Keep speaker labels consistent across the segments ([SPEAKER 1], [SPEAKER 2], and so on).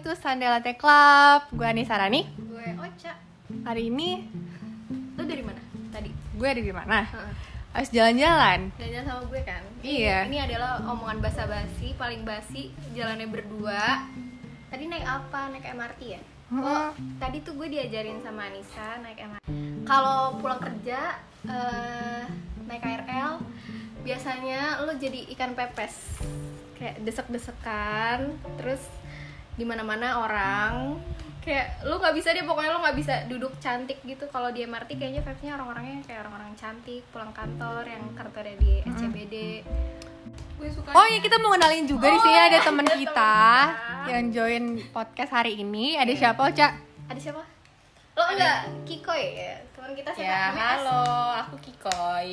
[SPEAKER 1] to Sunday Latte Club Gue Ani Sarani
[SPEAKER 2] Gue Ocha.
[SPEAKER 1] Hari ini
[SPEAKER 2] Lu dari mana tadi?
[SPEAKER 1] gue ada di mana?
[SPEAKER 2] Heeh.
[SPEAKER 1] Harus jalan-jalan
[SPEAKER 2] Jalan-jalan sama gue kan?
[SPEAKER 1] Iya.
[SPEAKER 2] Ini, ini adalah omongan basa-basi paling basi jalannya berdua. Tadi naik apa? Naik MRT ya?
[SPEAKER 1] Heeh.
[SPEAKER 2] Oh, tadi tuh gue diajarin sama Anissa naik MRT. Kalau pulang kerja eh naik KRL biasanya lo jadi ikan pepes. Kayak desek-desekan, terus di mana-mana orang kayak lu nggak bisa deh pokoknya lu nggak bisa duduk cantik gitu kalau di MRT kayaknya vibes-nya orang-orangnya kayak orang-orang cantik pulang kantor yang kantornya di E SCBD gue suka
[SPEAKER 1] Oh iya kita mau kenalin juga di sini
[SPEAKER 2] Oh,
[SPEAKER 1] ada
[SPEAKER 2] ada
[SPEAKER 1] teman
[SPEAKER 2] temen
[SPEAKER 1] kita
[SPEAKER 2] kita.
[SPEAKER 1] Yang join podcast hari ini Ada siapa Oca?
[SPEAKER 2] ada siapa lo enggak Kiko ya teman kita siapa
[SPEAKER 3] Ya,
[SPEAKER 2] MS?
[SPEAKER 3] halo, aku Kikoi.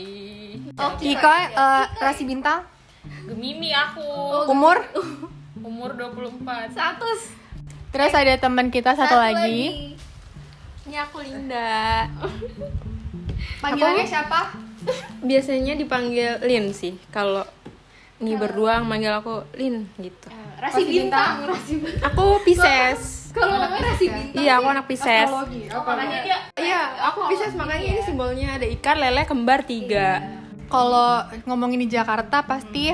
[SPEAKER 2] oh
[SPEAKER 1] Kiko,
[SPEAKER 2] ya.
[SPEAKER 1] eh,
[SPEAKER 2] Kiko
[SPEAKER 1] Rasi
[SPEAKER 2] ya.
[SPEAKER 1] Bintang
[SPEAKER 3] Gemini aku.
[SPEAKER 1] Umur
[SPEAKER 3] Umur 24.
[SPEAKER 2] status
[SPEAKER 1] Terus ada teman kita satu, lagi.
[SPEAKER 3] Ini aku Linda.
[SPEAKER 1] Panggilannya
[SPEAKER 2] Aku-
[SPEAKER 1] siapa?
[SPEAKER 4] biasanya dipanggil Lin sih kalau ini berdua manggil aku Lin gitu
[SPEAKER 3] Ah.
[SPEAKER 2] Rasi bintang, Rasi bintang.
[SPEAKER 4] aku Pisces
[SPEAKER 2] Kalau namanya Rasi bintang.
[SPEAKER 4] iya aku anak Pisces
[SPEAKER 3] Makanya dia
[SPEAKER 4] iya aku Pisces makanya ini simbolnya ada ikan lele kembar
[SPEAKER 3] Iya.
[SPEAKER 4] tiga
[SPEAKER 1] Kalau ngomongin di Jakarta pasti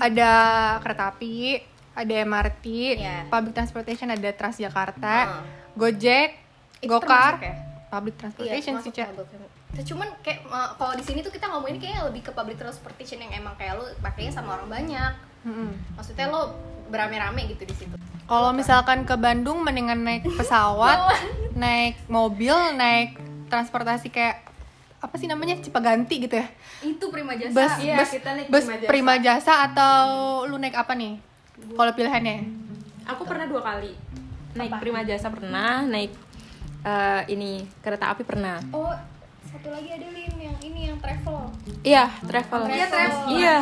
[SPEAKER 1] ada kereta api, ada MRT,
[SPEAKER 2] Iya.
[SPEAKER 1] public transportation ada Transjakarta, Gojek, Gokar, public
[SPEAKER 2] Iya,
[SPEAKER 1] transportation sih, Ca.
[SPEAKER 2] Cuman kayak eh, kalau di sini tuh kita ngomongin kayak lebih ke public transportation yang emang kayak lu pakainya sama orang banyak.
[SPEAKER 1] Mm-mm.
[SPEAKER 2] Maksudnya lo berame-rame gitu di situ.
[SPEAKER 1] Kalau misalkan ke Bandung mendingan naik pesawat, naik mobil, naik transportasi kayak apa sih namanya Cipaganti gitu ya?
[SPEAKER 2] Itu prima jasa.
[SPEAKER 1] Bus,
[SPEAKER 4] Iya,
[SPEAKER 1] bus,
[SPEAKER 4] kita naik
[SPEAKER 1] bus
[SPEAKER 4] prima jasa.
[SPEAKER 1] prima jasa atau lu naik apa nih? Kalau pilihannya?
[SPEAKER 4] aku pernah dua kali naik prima jasa pernah naik eh, ini kereta api pernah
[SPEAKER 2] Oh, satu lagi ada Lin yang ini yang travel.
[SPEAKER 4] iya travel
[SPEAKER 2] Iya, travel.
[SPEAKER 4] Iya,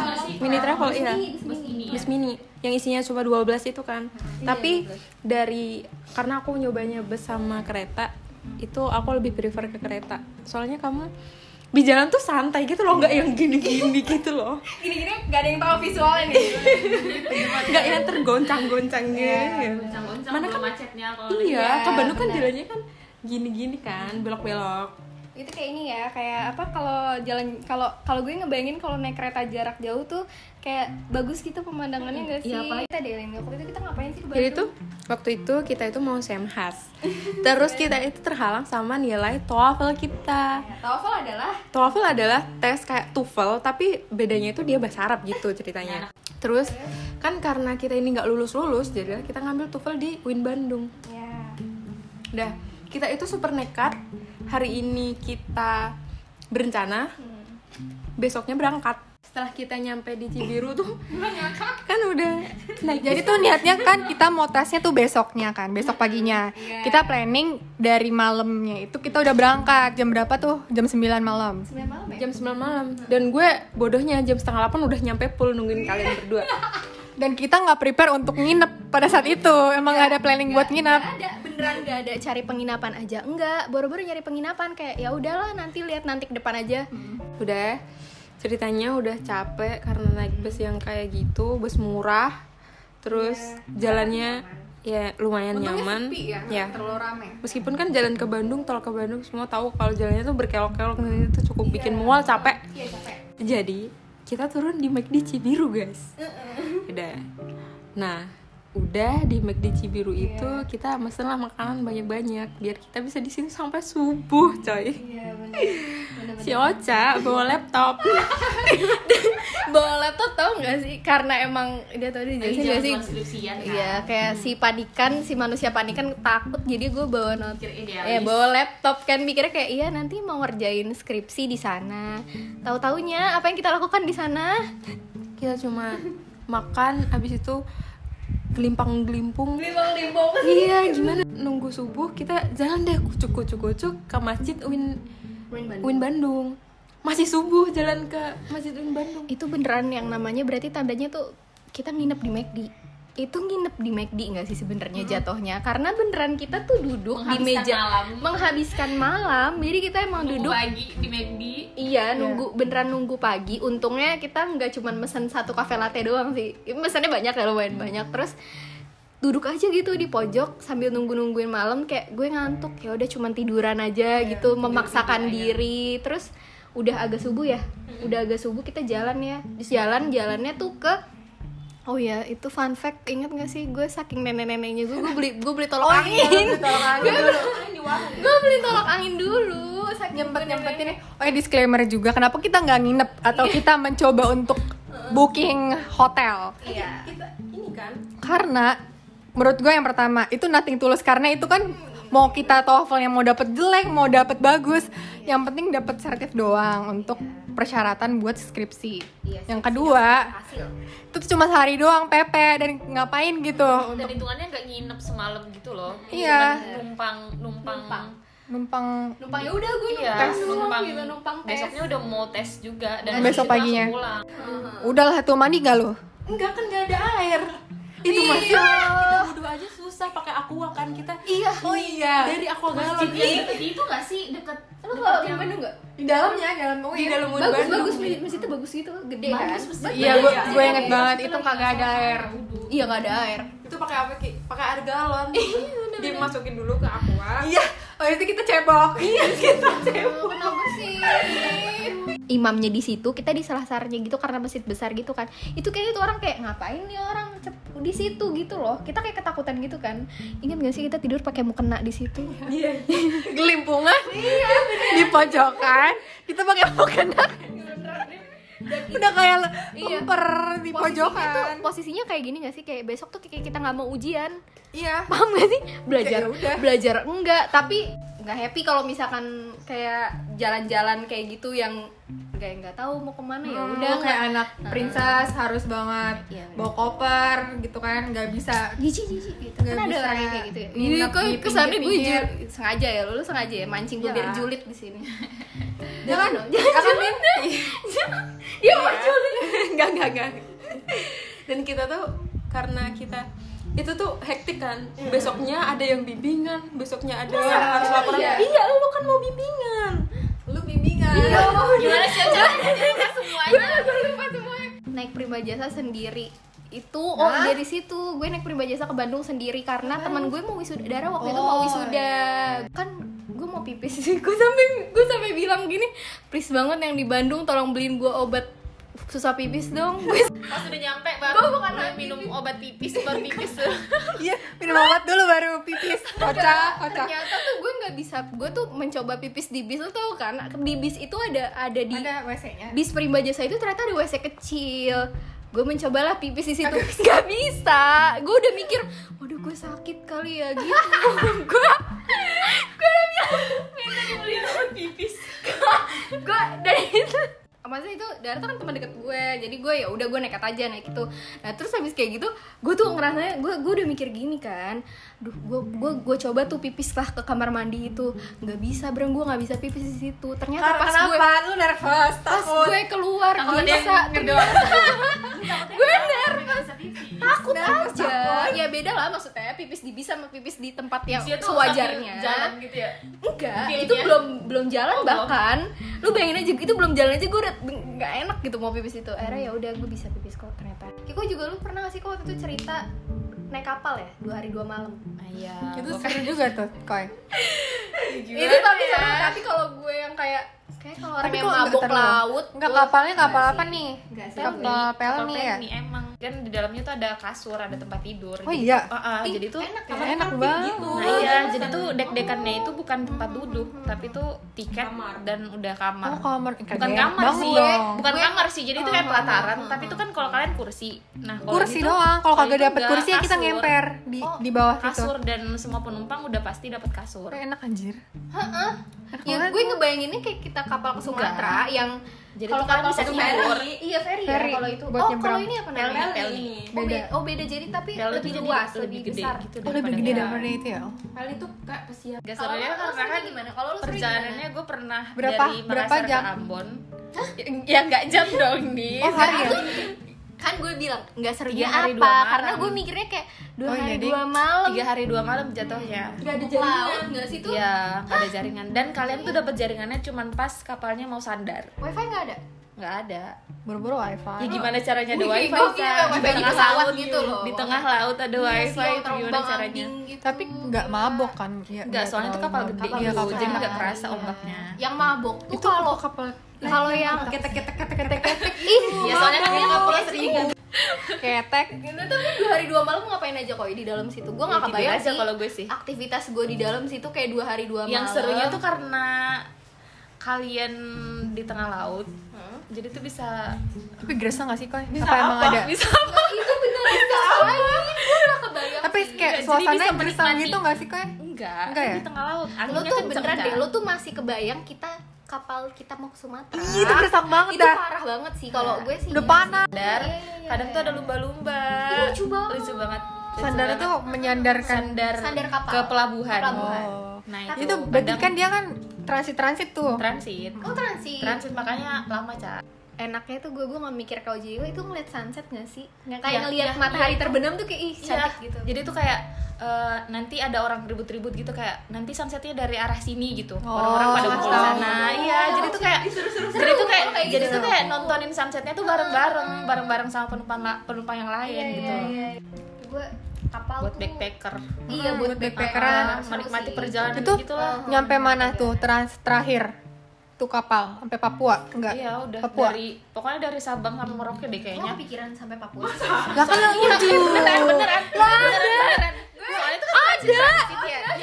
[SPEAKER 4] mini travel iya
[SPEAKER 2] Ini di sini.
[SPEAKER 4] bis mini yang isinya cuma 12 itu kan tapi dari karena aku nyobanya bus sama kereta itu aku lebih prefer ke kereta soalnya kamu di jalan tuh santai gitu loh nggak yang gini-gini gitu loh
[SPEAKER 2] Gini-gini gak ada yang tahu visualnya nih.
[SPEAKER 4] nggak yang tergoncang-goncangnya
[SPEAKER 3] goncang-goncang
[SPEAKER 4] Mana kan-
[SPEAKER 3] belum macetnya kalau
[SPEAKER 4] iya
[SPEAKER 1] Iya,
[SPEAKER 4] ke Bandung kan jalannya kan gini-gini kan belok-belok
[SPEAKER 2] itu kayak ini ya kayak apa kalau jalan kalau kalau gue ngebayangin kalau naik kereta jarak jauh tuh kayak bagus gitu pemandangannya gak sih? kita deh Lin, waktu itu kita ngapain sih ke Bandung?
[SPEAKER 4] jadi tuh waktu itu kita itu mau semhas terus kita itu terhalang sama nilai TOEFL kita
[SPEAKER 2] Nah, TOEFL adalah
[SPEAKER 4] TOEFL adalah tes kayak TOEFL tapi bedanya itu dia bahasa Arab gitu ceritanya. Terus kan karena kita ini nggak lulus lulus, jadilah kita ngambil TOEFL di Win Bandung.
[SPEAKER 2] ya
[SPEAKER 4] Dah kita itu super nekat. Hari ini kita berencana, besoknya berangkat. Setelah kita nyampe di Cibiru tuh, kan udah naik.
[SPEAKER 1] Jadi tuh niatnya kan kita mau tesnya tuh besoknya kan, besok paginya. Kita planning dari malamnya itu kita udah berangkat. Jam berapa tuh? Jam 9 malam.
[SPEAKER 2] sembilan malam ya.
[SPEAKER 4] jam 9 malam dan gue bodohnya jam setengah 8 udah nyampe pool nungguin kalian berdua
[SPEAKER 1] Dan kita nggak prepare untuk nginep pada saat itu. Emang nggak ada planning buat nginep.
[SPEAKER 2] Gak ada beneran gak ada cari penginapan aja enggak boro-boro nyari penginapan kayak ya udahlah nanti lihat nanti ke depan aja
[SPEAKER 4] udah ceritanya udah capek karena naik bus yang kayak gitu bus murah terus
[SPEAKER 1] Iya.
[SPEAKER 4] jalannya ya lumayan nyaman ya
[SPEAKER 1] terlalu rame.
[SPEAKER 4] meskipun kan jalan ke Bandung tol ke Bandung semua tahu kalau jalannya tuh berkelok-kelok dan itu cukup bikin mual capek
[SPEAKER 2] iya capek
[SPEAKER 4] jadi kita turun di McD
[SPEAKER 2] Hmm.
[SPEAKER 4] Cibiru guys udah nah udah di McD Cibiru
[SPEAKER 2] Iya.
[SPEAKER 4] itu kita mesenlah makanan banyak-banyak biar kita bisa di sini sampai subuh coy
[SPEAKER 2] iya bener bener
[SPEAKER 4] si Ocha bawa laptop
[SPEAKER 2] bawa laptop tau gak sih karena emang dia tau dia jelasin gak sih
[SPEAKER 3] skripsian. Iya.
[SPEAKER 2] Iya, kayak si panikan, si manusia panikan takut jadi gue bawa not
[SPEAKER 3] Mikir idealis.
[SPEAKER 2] ya bawa laptop kan mikirnya kayak iya nanti mau ngerjain skripsi di sana. Tahu-taunya apa yang kita lakukan di sana?
[SPEAKER 4] kita cuma makan abis itu gelimpang gelimpung
[SPEAKER 2] Limbong-limbong.
[SPEAKER 4] iya gimana nunggu subuh kita jalan deh kucuk kucuk kucuk ke masjid Win Win Bandung masih subuh jalan ke masjid Win Bandung
[SPEAKER 2] Itu beneran yang namanya berarti tandanya tuh kita nginep di McD. Itu nginep di McD nggak sih sebenarnya jatuhnya? Karena beneran kita tuh duduk di
[SPEAKER 3] Hmm. Menghabiskan
[SPEAKER 2] meja
[SPEAKER 3] malam.
[SPEAKER 2] menghabiskan malam. Jadi kita emang
[SPEAKER 3] Duduk
[SPEAKER 2] duduk
[SPEAKER 3] pagi di McD.
[SPEAKER 2] Iya, nunggu beneran nunggu pagi. Untungnya kita nggak cuman mesen satu cafe latte doang sih. Mesennya banyak ya lumayan banyak. Terus duduk aja gitu di pojok sambil nunggu nungguin malam kayak gue ngantuk ya udah cuman tiduran aja gitu memaksakan diri terus udah agak subuh ya udah agak subuh kita jalan ya Terus jalan jalannya tuh ke Oh ya, itu fun fact. Ingat gak sih gue saking nenek-neneknya gue gue beli gue beli tolak
[SPEAKER 1] Oh, iya.
[SPEAKER 2] angin. gue beli tolak angin dulu. Saking
[SPEAKER 1] nyempet nyempetin ya. Oh ya disclaimer juga, kenapa kita nggak nginep atau kita mencoba untuk booking hotel?
[SPEAKER 2] Iya.
[SPEAKER 4] kita ini kan
[SPEAKER 1] Karena menurut gue yang pertama itu nothing tulus karena itu kan mau kita TOEFL yang mau dapet jelek, mau dapet bagus, yang penting dapet sertif doang untuk persyaratan buat skripsi.
[SPEAKER 3] Iya,
[SPEAKER 1] yang kedua,
[SPEAKER 3] hasil
[SPEAKER 1] itu tuh cuma sehari doang PP dan ngapain gitu
[SPEAKER 5] dan hitungannya nggak nginep semalam gitu loh
[SPEAKER 1] Iya.
[SPEAKER 5] Cuman numpang numpang numpang
[SPEAKER 1] numpang
[SPEAKER 2] Numpang ya udah gue
[SPEAKER 5] iya
[SPEAKER 2] numpang doang
[SPEAKER 5] numpang,
[SPEAKER 2] gitu, numpang tes.
[SPEAKER 5] besoknya udah mau tes juga dan
[SPEAKER 1] Dan besok
[SPEAKER 5] habis itu langsung
[SPEAKER 1] paginya.
[SPEAKER 5] pulang.
[SPEAKER 1] udahlah tuh mandi gak lo
[SPEAKER 4] enggak kan nggak ada air
[SPEAKER 1] itu masih
[SPEAKER 4] kita wudhu aja susah pakai aqua kan kita
[SPEAKER 1] iya oh iya
[SPEAKER 4] dari aqua galon Iya.
[SPEAKER 5] masjid yang deket itu nggak sih deket
[SPEAKER 2] Lu
[SPEAKER 5] deket
[SPEAKER 2] kalau di
[SPEAKER 5] yang-
[SPEAKER 2] Bandung nggak?
[SPEAKER 1] di dalamnya dalam UIN
[SPEAKER 4] di dalam Bandung
[SPEAKER 2] Bagus bagus masjid masjidnya bagus gitu gede kan?
[SPEAKER 5] Bagus, masjid.
[SPEAKER 1] iya gue gue
[SPEAKER 5] Iya,
[SPEAKER 1] inget
[SPEAKER 5] iya.
[SPEAKER 1] banget
[SPEAKER 5] Itu
[SPEAKER 1] itu
[SPEAKER 5] lagi
[SPEAKER 1] kagak ada
[SPEAKER 5] sama
[SPEAKER 1] air
[SPEAKER 5] wudhu.
[SPEAKER 2] Iya nggak ada air.
[SPEAKER 4] itu pakai apa Ki? pakai air galon dimasukin dulu ke aqua
[SPEAKER 1] iya oh itu kita cebok iya kita
[SPEAKER 2] Oh, Kenapa sih? Imamnya di situ, kita di salah sarnya gitu karena masjid besar gitu kan. Itu kayaknya tuh orang kayak ngapain nih orang cep- di situ gitu loh. Kita kayak ketakutan gitu kan. Ingat gak sih kita tidur pakai mukena di situ?
[SPEAKER 1] gelimpungan di pojokan kita pakai mukena udah kayak lemper di
[SPEAKER 2] Posisinya tuh,
[SPEAKER 1] pojokan
[SPEAKER 2] posisinya kayak gini gak sih? Kayak besok tuh kayak kita nggak mau ujian.
[SPEAKER 1] iya
[SPEAKER 2] paham gak sih
[SPEAKER 1] Ya
[SPEAKER 2] belajar
[SPEAKER 1] udah.
[SPEAKER 2] belajar enggak tapi nggak happy kalau misalkan kayak jalan-jalan kayak gitu yang kayak nggak tahu mau kemana ya udah
[SPEAKER 1] udah Hmm, Oh, kayak
[SPEAKER 2] nggak-
[SPEAKER 1] anak princess harus banget
[SPEAKER 2] Iya.
[SPEAKER 1] bawa koper gitu kan nggak bisa
[SPEAKER 2] jijik jijik gitu
[SPEAKER 1] Nggak
[SPEAKER 2] kan ada
[SPEAKER 1] bisa
[SPEAKER 2] orang yang kayak gitu ya
[SPEAKER 1] nginep
[SPEAKER 2] Iya,
[SPEAKER 1] di
[SPEAKER 2] kok kesannya gue
[SPEAKER 1] pinggir-pinggir.
[SPEAKER 2] jul- sengaja ya lu sengaja ya mancing gue biar
[SPEAKER 1] Iyalah.
[SPEAKER 2] julid di sini
[SPEAKER 1] Jangan, jangan Min.
[SPEAKER 2] ya
[SPEAKER 1] Iya.
[SPEAKER 2] mau julid
[SPEAKER 4] enggak enggak enggak dan kita tuh karena kita itu tuh hektik kan besoknya ada yang bimbingan besoknya ada yang harus laporan
[SPEAKER 1] Iya.
[SPEAKER 4] iya lu kan mau bimbingan
[SPEAKER 1] Lu bimbingan.
[SPEAKER 2] Oh,
[SPEAKER 5] gimana sih acara semuanya
[SPEAKER 2] naik prima jasa sendiri itu oh
[SPEAKER 1] Hah?
[SPEAKER 2] dari situ gue naik prima jasa ke Bandung sendiri karena teman gue mau wisuda Dara waktu itu
[SPEAKER 1] Oh,
[SPEAKER 2] mau wisuda kan gue mau pipis gue sampai gue sampai bilang gini please banget yang di Bandung tolong beliin gue obat susah pipis dong gue
[SPEAKER 5] pas udah nyampe baru udah minum obat pipis baru pipis
[SPEAKER 1] Iya, minum obat dulu baru pipis. Kocak, kocak.
[SPEAKER 2] ternyata tuh gue nggak bisa gue tuh mencoba pipis di bis lo tau kan di bis itu ada ada di
[SPEAKER 1] WC-nya.
[SPEAKER 2] bis Prima Jasa itu ternyata ada WC kecil gue mencobalah pipis di situ nggak bisa gue udah mikir waduh gue sakit kali ya gitu gue
[SPEAKER 5] pipis
[SPEAKER 2] gue dari itu maksudnya itu Dara tuh kan teman deket gue jadi gue ya udah gue nekat aja naik itu nah terus habis kayak gitu gue tuh ngerasanya gue gue udah mikir gini kan duh gue gue gue coba tuh pipis lah ke kamar mandi itu nggak bisa Bram gue nggak bisa pipis di situ ternyata pas gue
[SPEAKER 1] Kenapa? Lu nervous,
[SPEAKER 2] pas
[SPEAKER 1] takut.
[SPEAKER 2] gue keluar
[SPEAKER 5] Takut ada yang
[SPEAKER 2] bisa
[SPEAKER 5] ngedor.
[SPEAKER 2] gue nervous
[SPEAKER 5] Iya,
[SPEAKER 2] takut
[SPEAKER 1] Nervous,
[SPEAKER 2] aja ya beda lah maksudnya pipis di bisa sama pipis di tempat yang
[SPEAKER 5] Dia tuh
[SPEAKER 2] sewajarnya
[SPEAKER 5] sambil jalan gitu ya
[SPEAKER 2] enggak
[SPEAKER 5] Feelnya?
[SPEAKER 2] itu belum belum jalan
[SPEAKER 5] Oh, belum.
[SPEAKER 2] bahkan lu bayangin aja itu belum jalan aja gue udah nggak enak gitu mau pipis itu akhirnya ya udah gue bisa pipis kok ternyata Kiko juga lu pernah gak sih kok waktu itu cerita naik kapal ya dua hari dua malam
[SPEAKER 5] iya
[SPEAKER 1] Itu seru juga tuh, Koy.
[SPEAKER 2] itu tapi
[SPEAKER 5] iya.
[SPEAKER 2] sama- tapi kalau gue yang kayak kayak kalau orang yang mabok laut
[SPEAKER 1] Enggak
[SPEAKER 2] gue-
[SPEAKER 1] kapalnya kapal apa
[SPEAKER 5] Iya
[SPEAKER 1] nih? Kapal Pelni ya?
[SPEAKER 5] emang kan di dalamnya tuh ada kasur ada tempat tidur
[SPEAKER 1] Oh
[SPEAKER 5] gitu.
[SPEAKER 1] iya.
[SPEAKER 5] Ah, ah, jadi tuh
[SPEAKER 2] enak
[SPEAKER 1] Ya, Enak banget.
[SPEAKER 4] Gitu.
[SPEAKER 5] Nah iya, jadi tuh dek-dekannya itu bukan tempat duduk, tapi tuh tiket dan udah kamar.
[SPEAKER 1] Oh, kamar. Eh,
[SPEAKER 5] Bukan
[SPEAKER 1] keren
[SPEAKER 5] kamar
[SPEAKER 1] banget
[SPEAKER 5] sih,
[SPEAKER 1] dong.
[SPEAKER 5] bukan kamar sih. Jadi itu
[SPEAKER 2] Oh.
[SPEAKER 5] kayak pelataran, tapi itu kan kalau kalian kursi. Nah, kalau
[SPEAKER 1] Kursi
[SPEAKER 5] gitu,
[SPEAKER 1] doang. Kalau
[SPEAKER 5] kalau
[SPEAKER 1] kagak
[SPEAKER 5] itu
[SPEAKER 1] dapet
[SPEAKER 5] enggak,
[SPEAKER 1] kursi ya kita
[SPEAKER 5] kasur. Oh,
[SPEAKER 1] ngemper di di bawah gitu.
[SPEAKER 5] Kasur dan semua penumpang udah pasti dapat kasur.
[SPEAKER 1] Eh, Enak anjir.
[SPEAKER 2] Heeh. Ya gue ngebayanginnya kayak kita kapal ke Sumatera yang
[SPEAKER 5] Jadi
[SPEAKER 2] kalau
[SPEAKER 5] tuh kalian
[SPEAKER 2] kapal
[SPEAKER 5] bisa
[SPEAKER 2] ke
[SPEAKER 5] tidur.
[SPEAKER 2] Sumatera, iya ferry,
[SPEAKER 1] Ferry,
[SPEAKER 2] ya kalau itu.
[SPEAKER 1] buat
[SPEAKER 2] oh, kalau
[SPEAKER 1] nyebrang.
[SPEAKER 2] ini apa namanya?
[SPEAKER 5] Pelni.
[SPEAKER 2] Oh,
[SPEAKER 1] Beda.
[SPEAKER 2] beda. Oh, beda jadi tapi
[SPEAKER 5] Ya,
[SPEAKER 2] lebih,
[SPEAKER 5] jadi
[SPEAKER 2] luas,
[SPEAKER 5] lebih,
[SPEAKER 2] lebih,
[SPEAKER 5] gede
[SPEAKER 2] besar.
[SPEAKER 5] gitu
[SPEAKER 1] Oh, lebih
[SPEAKER 5] daripada
[SPEAKER 1] gede
[SPEAKER 5] dia.
[SPEAKER 1] daripada itu
[SPEAKER 5] Iya.
[SPEAKER 1] ya.
[SPEAKER 4] kali itu kayak pesiar
[SPEAKER 5] Gak
[SPEAKER 2] Kalau
[SPEAKER 5] sebenarnya
[SPEAKER 2] lu
[SPEAKER 5] karena
[SPEAKER 2] sendiri
[SPEAKER 5] kan
[SPEAKER 2] gimana? Kalau lu sendiri
[SPEAKER 5] perjalanannya gue pernah
[SPEAKER 1] Berapa-
[SPEAKER 5] dari
[SPEAKER 1] berapa
[SPEAKER 5] Makassar
[SPEAKER 1] jam?
[SPEAKER 5] ke Ambon. Ya nggak jam dong nih.
[SPEAKER 1] Oh, hari ya?
[SPEAKER 2] Kan gue bilang nggak serunya
[SPEAKER 5] Tiga hari,
[SPEAKER 2] apa
[SPEAKER 5] dua malam.
[SPEAKER 2] karena gue mikirnya kayak dua
[SPEAKER 1] Oh, iya,
[SPEAKER 2] hari
[SPEAKER 1] Ding.
[SPEAKER 2] dua malam.
[SPEAKER 5] Tiga hari dua malam jatuhnya.
[SPEAKER 4] nggak ada
[SPEAKER 2] Laut
[SPEAKER 4] jaringan
[SPEAKER 2] nggak sih tuh?
[SPEAKER 5] Iya, nggak ada jaringan. Dan kalian tuh dapat jaringannya cuman pas kapalnya mau sandar.
[SPEAKER 2] Wifi nggak ada.
[SPEAKER 5] nggak ada
[SPEAKER 1] Buru-buru wifi.
[SPEAKER 5] ya gimana caranya ada
[SPEAKER 2] Oh. Wih, Iya
[SPEAKER 5] wifi
[SPEAKER 2] Iya, gua
[SPEAKER 5] Sa?
[SPEAKER 2] gila, wifi di
[SPEAKER 5] di tengah
[SPEAKER 2] pesawat
[SPEAKER 5] laut
[SPEAKER 2] gitu loh.
[SPEAKER 5] di tengah laut ada wifi itu gimana caranya
[SPEAKER 2] gitu.
[SPEAKER 1] Tapi nggak mabok kan? Ya,
[SPEAKER 5] Enggak, soalnya itu kapal gede
[SPEAKER 1] Kapal
[SPEAKER 5] gitu,
[SPEAKER 1] Iya, kapal
[SPEAKER 5] jadi
[SPEAKER 1] gede.
[SPEAKER 5] nggak kerasa ombaknya.
[SPEAKER 2] yang mabok tuh kalau
[SPEAKER 4] kapal
[SPEAKER 2] kalau yang Iya,
[SPEAKER 1] ketek ketek ketek ketek ketek
[SPEAKER 2] ih
[SPEAKER 5] Ya soalnya kan nggak pulang
[SPEAKER 1] ketek
[SPEAKER 2] Gitu, tapi gitu. dua hari dua malam ngapain aja koi di dalam situ? Gue nggak
[SPEAKER 5] Tidur
[SPEAKER 2] kebayang
[SPEAKER 5] aja
[SPEAKER 2] sih.
[SPEAKER 5] kalau gue sih.
[SPEAKER 2] Aktivitas gue di dalam situ kayak dua hari dua malam.
[SPEAKER 5] Yang serunya tuh karena kalian di tengah laut,
[SPEAKER 2] Hmm?
[SPEAKER 5] jadi tuh bisa
[SPEAKER 1] tapi gerasa nggak sih koi? apa emang ada?
[SPEAKER 5] bisa
[SPEAKER 2] Nah, itu bener itu soalnya gue nggak kebayang.
[SPEAKER 1] tapi kayak
[SPEAKER 5] Iya, Jadi
[SPEAKER 1] suasana
[SPEAKER 5] bisa
[SPEAKER 1] gerasa
[SPEAKER 5] menikmati.
[SPEAKER 1] gitu nggak sih koi?
[SPEAKER 5] enggak,
[SPEAKER 1] Enggak ya?
[SPEAKER 5] di tengah laut.
[SPEAKER 2] Lo
[SPEAKER 5] Anginnya
[SPEAKER 2] tuh
[SPEAKER 5] kenceng
[SPEAKER 2] beneran
[SPEAKER 5] kan?
[SPEAKER 2] deh, lo tuh masih kebayang kita kapal kita mau ke Sumatera.
[SPEAKER 1] Ih, itu keresak banget
[SPEAKER 2] Itu
[SPEAKER 1] dah.
[SPEAKER 2] parah banget sih kalau gue sih.
[SPEAKER 1] Udah panas.
[SPEAKER 5] Sadar,
[SPEAKER 2] Iya, iya, iya.
[SPEAKER 5] kadang tuh ada lumba-lumba.
[SPEAKER 2] Ih, lucu banget.
[SPEAKER 5] Lucu banget. Lucu
[SPEAKER 1] Sandar
[SPEAKER 5] banget.
[SPEAKER 1] itu menyandarkan.
[SPEAKER 5] sandar,
[SPEAKER 2] Sandar kapal.
[SPEAKER 5] ke pelabuhan.
[SPEAKER 2] Ke pelabuhan.
[SPEAKER 1] Oh.
[SPEAKER 5] Nah, itu,
[SPEAKER 1] Itu berarti
[SPEAKER 5] kadang
[SPEAKER 1] kan dia kan transit-transit tuh.
[SPEAKER 5] transit.
[SPEAKER 2] Oh transit.
[SPEAKER 5] Transit makanya lama, Ca.
[SPEAKER 2] Enaknya tuh gue gue nggak mikir kau jiwa itu ngeliat sunset gak sih? Nggak
[SPEAKER 5] Iya,
[SPEAKER 2] kayak ngeliat
[SPEAKER 5] iya,
[SPEAKER 2] matahari
[SPEAKER 5] iya.
[SPEAKER 2] terbenam tuh kayak ih
[SPEAKER 5] Iya,
[SPEAKER 2] cantik gitu.
[SPEAKER 5] jadi tuh kayak eh, nanti ada orang ribut-ribut gitu kayak nanti sunsetnya dari arah sini gitu
[SPEAKER 1] Oh,
[SPEAKER 5] orang-orang pada
[SPEAKER 1] ngasih
[SPEAKER 5] ngumpul
[SPEAKER 1] tahu.
[SPEAKER 5] sana iya jadi tuh kayak jadi tuh kayak jadi tuh kayak nontonin sunsetnya tuh bareng-bareng bareng-bareng sama penumpang la- penumpang yang lain gitu
[SPEAKER 2] Gue kapal
[SPEAKER 5] buat
[SPEAKER 2] tuh-
[SPEAKER 5] backpacker
[SPEAKER 2] Iya
[SPEAKER 1] Hmm,
[SPEAKER 2] buat
[SPEAKER 1] buat
[SPEAKER 2] backpackeran.
[SPEAKER 5] Ah, menikmati perjalanan
[SPEAKER 1] Itu Oh.
[SPEAKER 5] gitu lah
[SPEAKER 1] nyampe mana tuh trans terakhir? Tuh kapal sampai Papua enggak?
[SPEAKER 5] iya udah
[SPEAKER 1] Papua.
[SPEAKER 5] dari pokoknya dari Sabang sampai Merauke deh
[SPEAKER 2] Gue
[SPEAKER 5] kayaknya
[SPEAKER 2] kepikiran sampai Papua.
[SPEAKER 1] Lah
[SPEAKER 5] Iya.
[SPEAKER 1] kan yang itu.
[SPEAKER 5] beneran beneran beneran beneran soalnya itu kan ada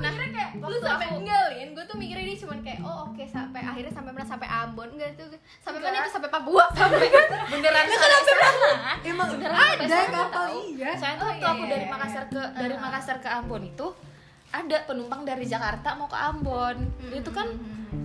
[SPEAKER 2] Nah, kayak lu sampai enggak Lin, gue tuh mikirnya dia cuman kayak oh oke sampai akhirnya sampai mana sampai Ambon enggak itu sampai mana itu sampai Papua sampai
[SPEAKER 5] beneran beneran
[SPEAKER 1] Emang
[SPEAKER 5] sampai
[SPEAKER 1] ada
[SPEAKER 5] sana,
[SPEAKER 1] kapal
[SPEAKER 5] tahu.
[SPEAKER 1] iya.
[SPEAKER 5] Soalnya tuh waktu aku dari Makassar ke dari Makassar ke Ambon itu ada penumpang dari Jakarta mau ke Ambon. Itu kan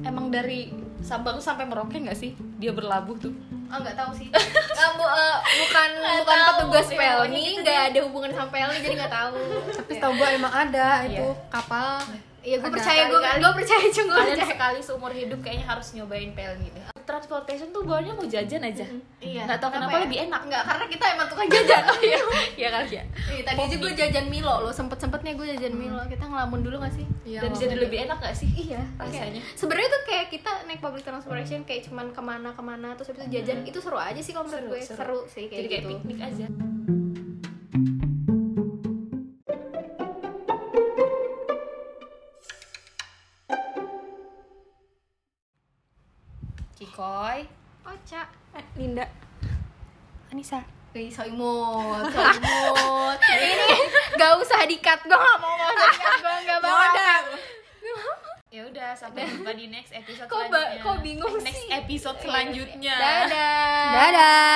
[SPEAKER 5] emang dari Sabang sampai Merauke nggak sih dia berlabuh tuh?
[SPEAKER 2] oh enggak tahu sih Eh, bu- eh, bukan bukan
[SPEAKER 5] tahu,
[SPEAKER 2] petugas
[SPEAKER 5] iya,
[SPEAKER 2] pelni
[SPEAKER 5] gitu
[SPEAKER 2] enggak ada hubungan sama pelni jadi enggak tahu
[SPEAKER 1] Tapi
[SPEAKER 5] Iya.
[SPEAKER 1] tahu gua emang ada itu kapal.
[SPEAKER 2] Iya, gue
[SPEAKER 1] Ada
[SPEAKER 2] percaya, gue gue percaya cuma gue
[SPEAKER 5] Kalian
[SPEAKER 2] percaya.
[SPEAKER 5] sekali seumur hidup kayaknya harus nyobain pelni deh. gitu. Transportation tuh bawahnya mau jajan aja.
[SPEAKER 2] Iya.
[SPEAKER 5] Nggak tahu kenapa lebih enak.
[SPEAKER 2] Enggak, karena kita emang tukang jajan. Iya.
[SPEAKER 5] Iya kali ya.
[SPEAKER 2] tadi aja gue jajan Milo loh, sempet-sempetnya gue jajan
[SPEAKER 5] Hmm.
[SPEAKER 2] Milo. Kita ngelamun dulu gak sih?
[SPEAKER 1] Iya,
[SPEAKER 5] Dan
[SPEAKER 1] nggak
[SPEAKER 5] jadi lebih enak gak sih?
[SPEAKER 2] Iya,
[SPEAKER 5] Rasanya.
[SPEAKER 2] kayak- Sebenarnya tuh kayak kita naik public transportation kayak cuman kemana-kemana terus habis itu jajan itu seru aja sih kalau menurut
[SPEAKER 5] Hmm. Seru,
[SPEAKER 2] gue
[SPEAKER 5] seru.
[SPEAKER 2] seru. sih kayak
[SPEAKER 5] Jadi kayak
[SPEAKER 2] gitu.
[SPEAKER 5] piknik aja. Kikoy,
[SPEAKER 2] Oca,
[SPEAKER 4] Linda
[SPEAKER 2] Anissa. Wih, so imut, so imut. Ini gak usah dikat, gue gak mau gak usah dikat, gue gak mau.
[SPEAKER 5] ya udah sampai jumpa di next episode
[SPEAKER 2] Kok ba-
[SPEAKER 5] selanjutnya. Eh,
[SPEAKER 2] kok bingung
[SPEAKER 5] next
[SPEAKER 2] sih?
[SPEAKER 5] episode selanjutnya.
[SPEAKER 2] Dadah.
[SPEAKER 1] Dadah.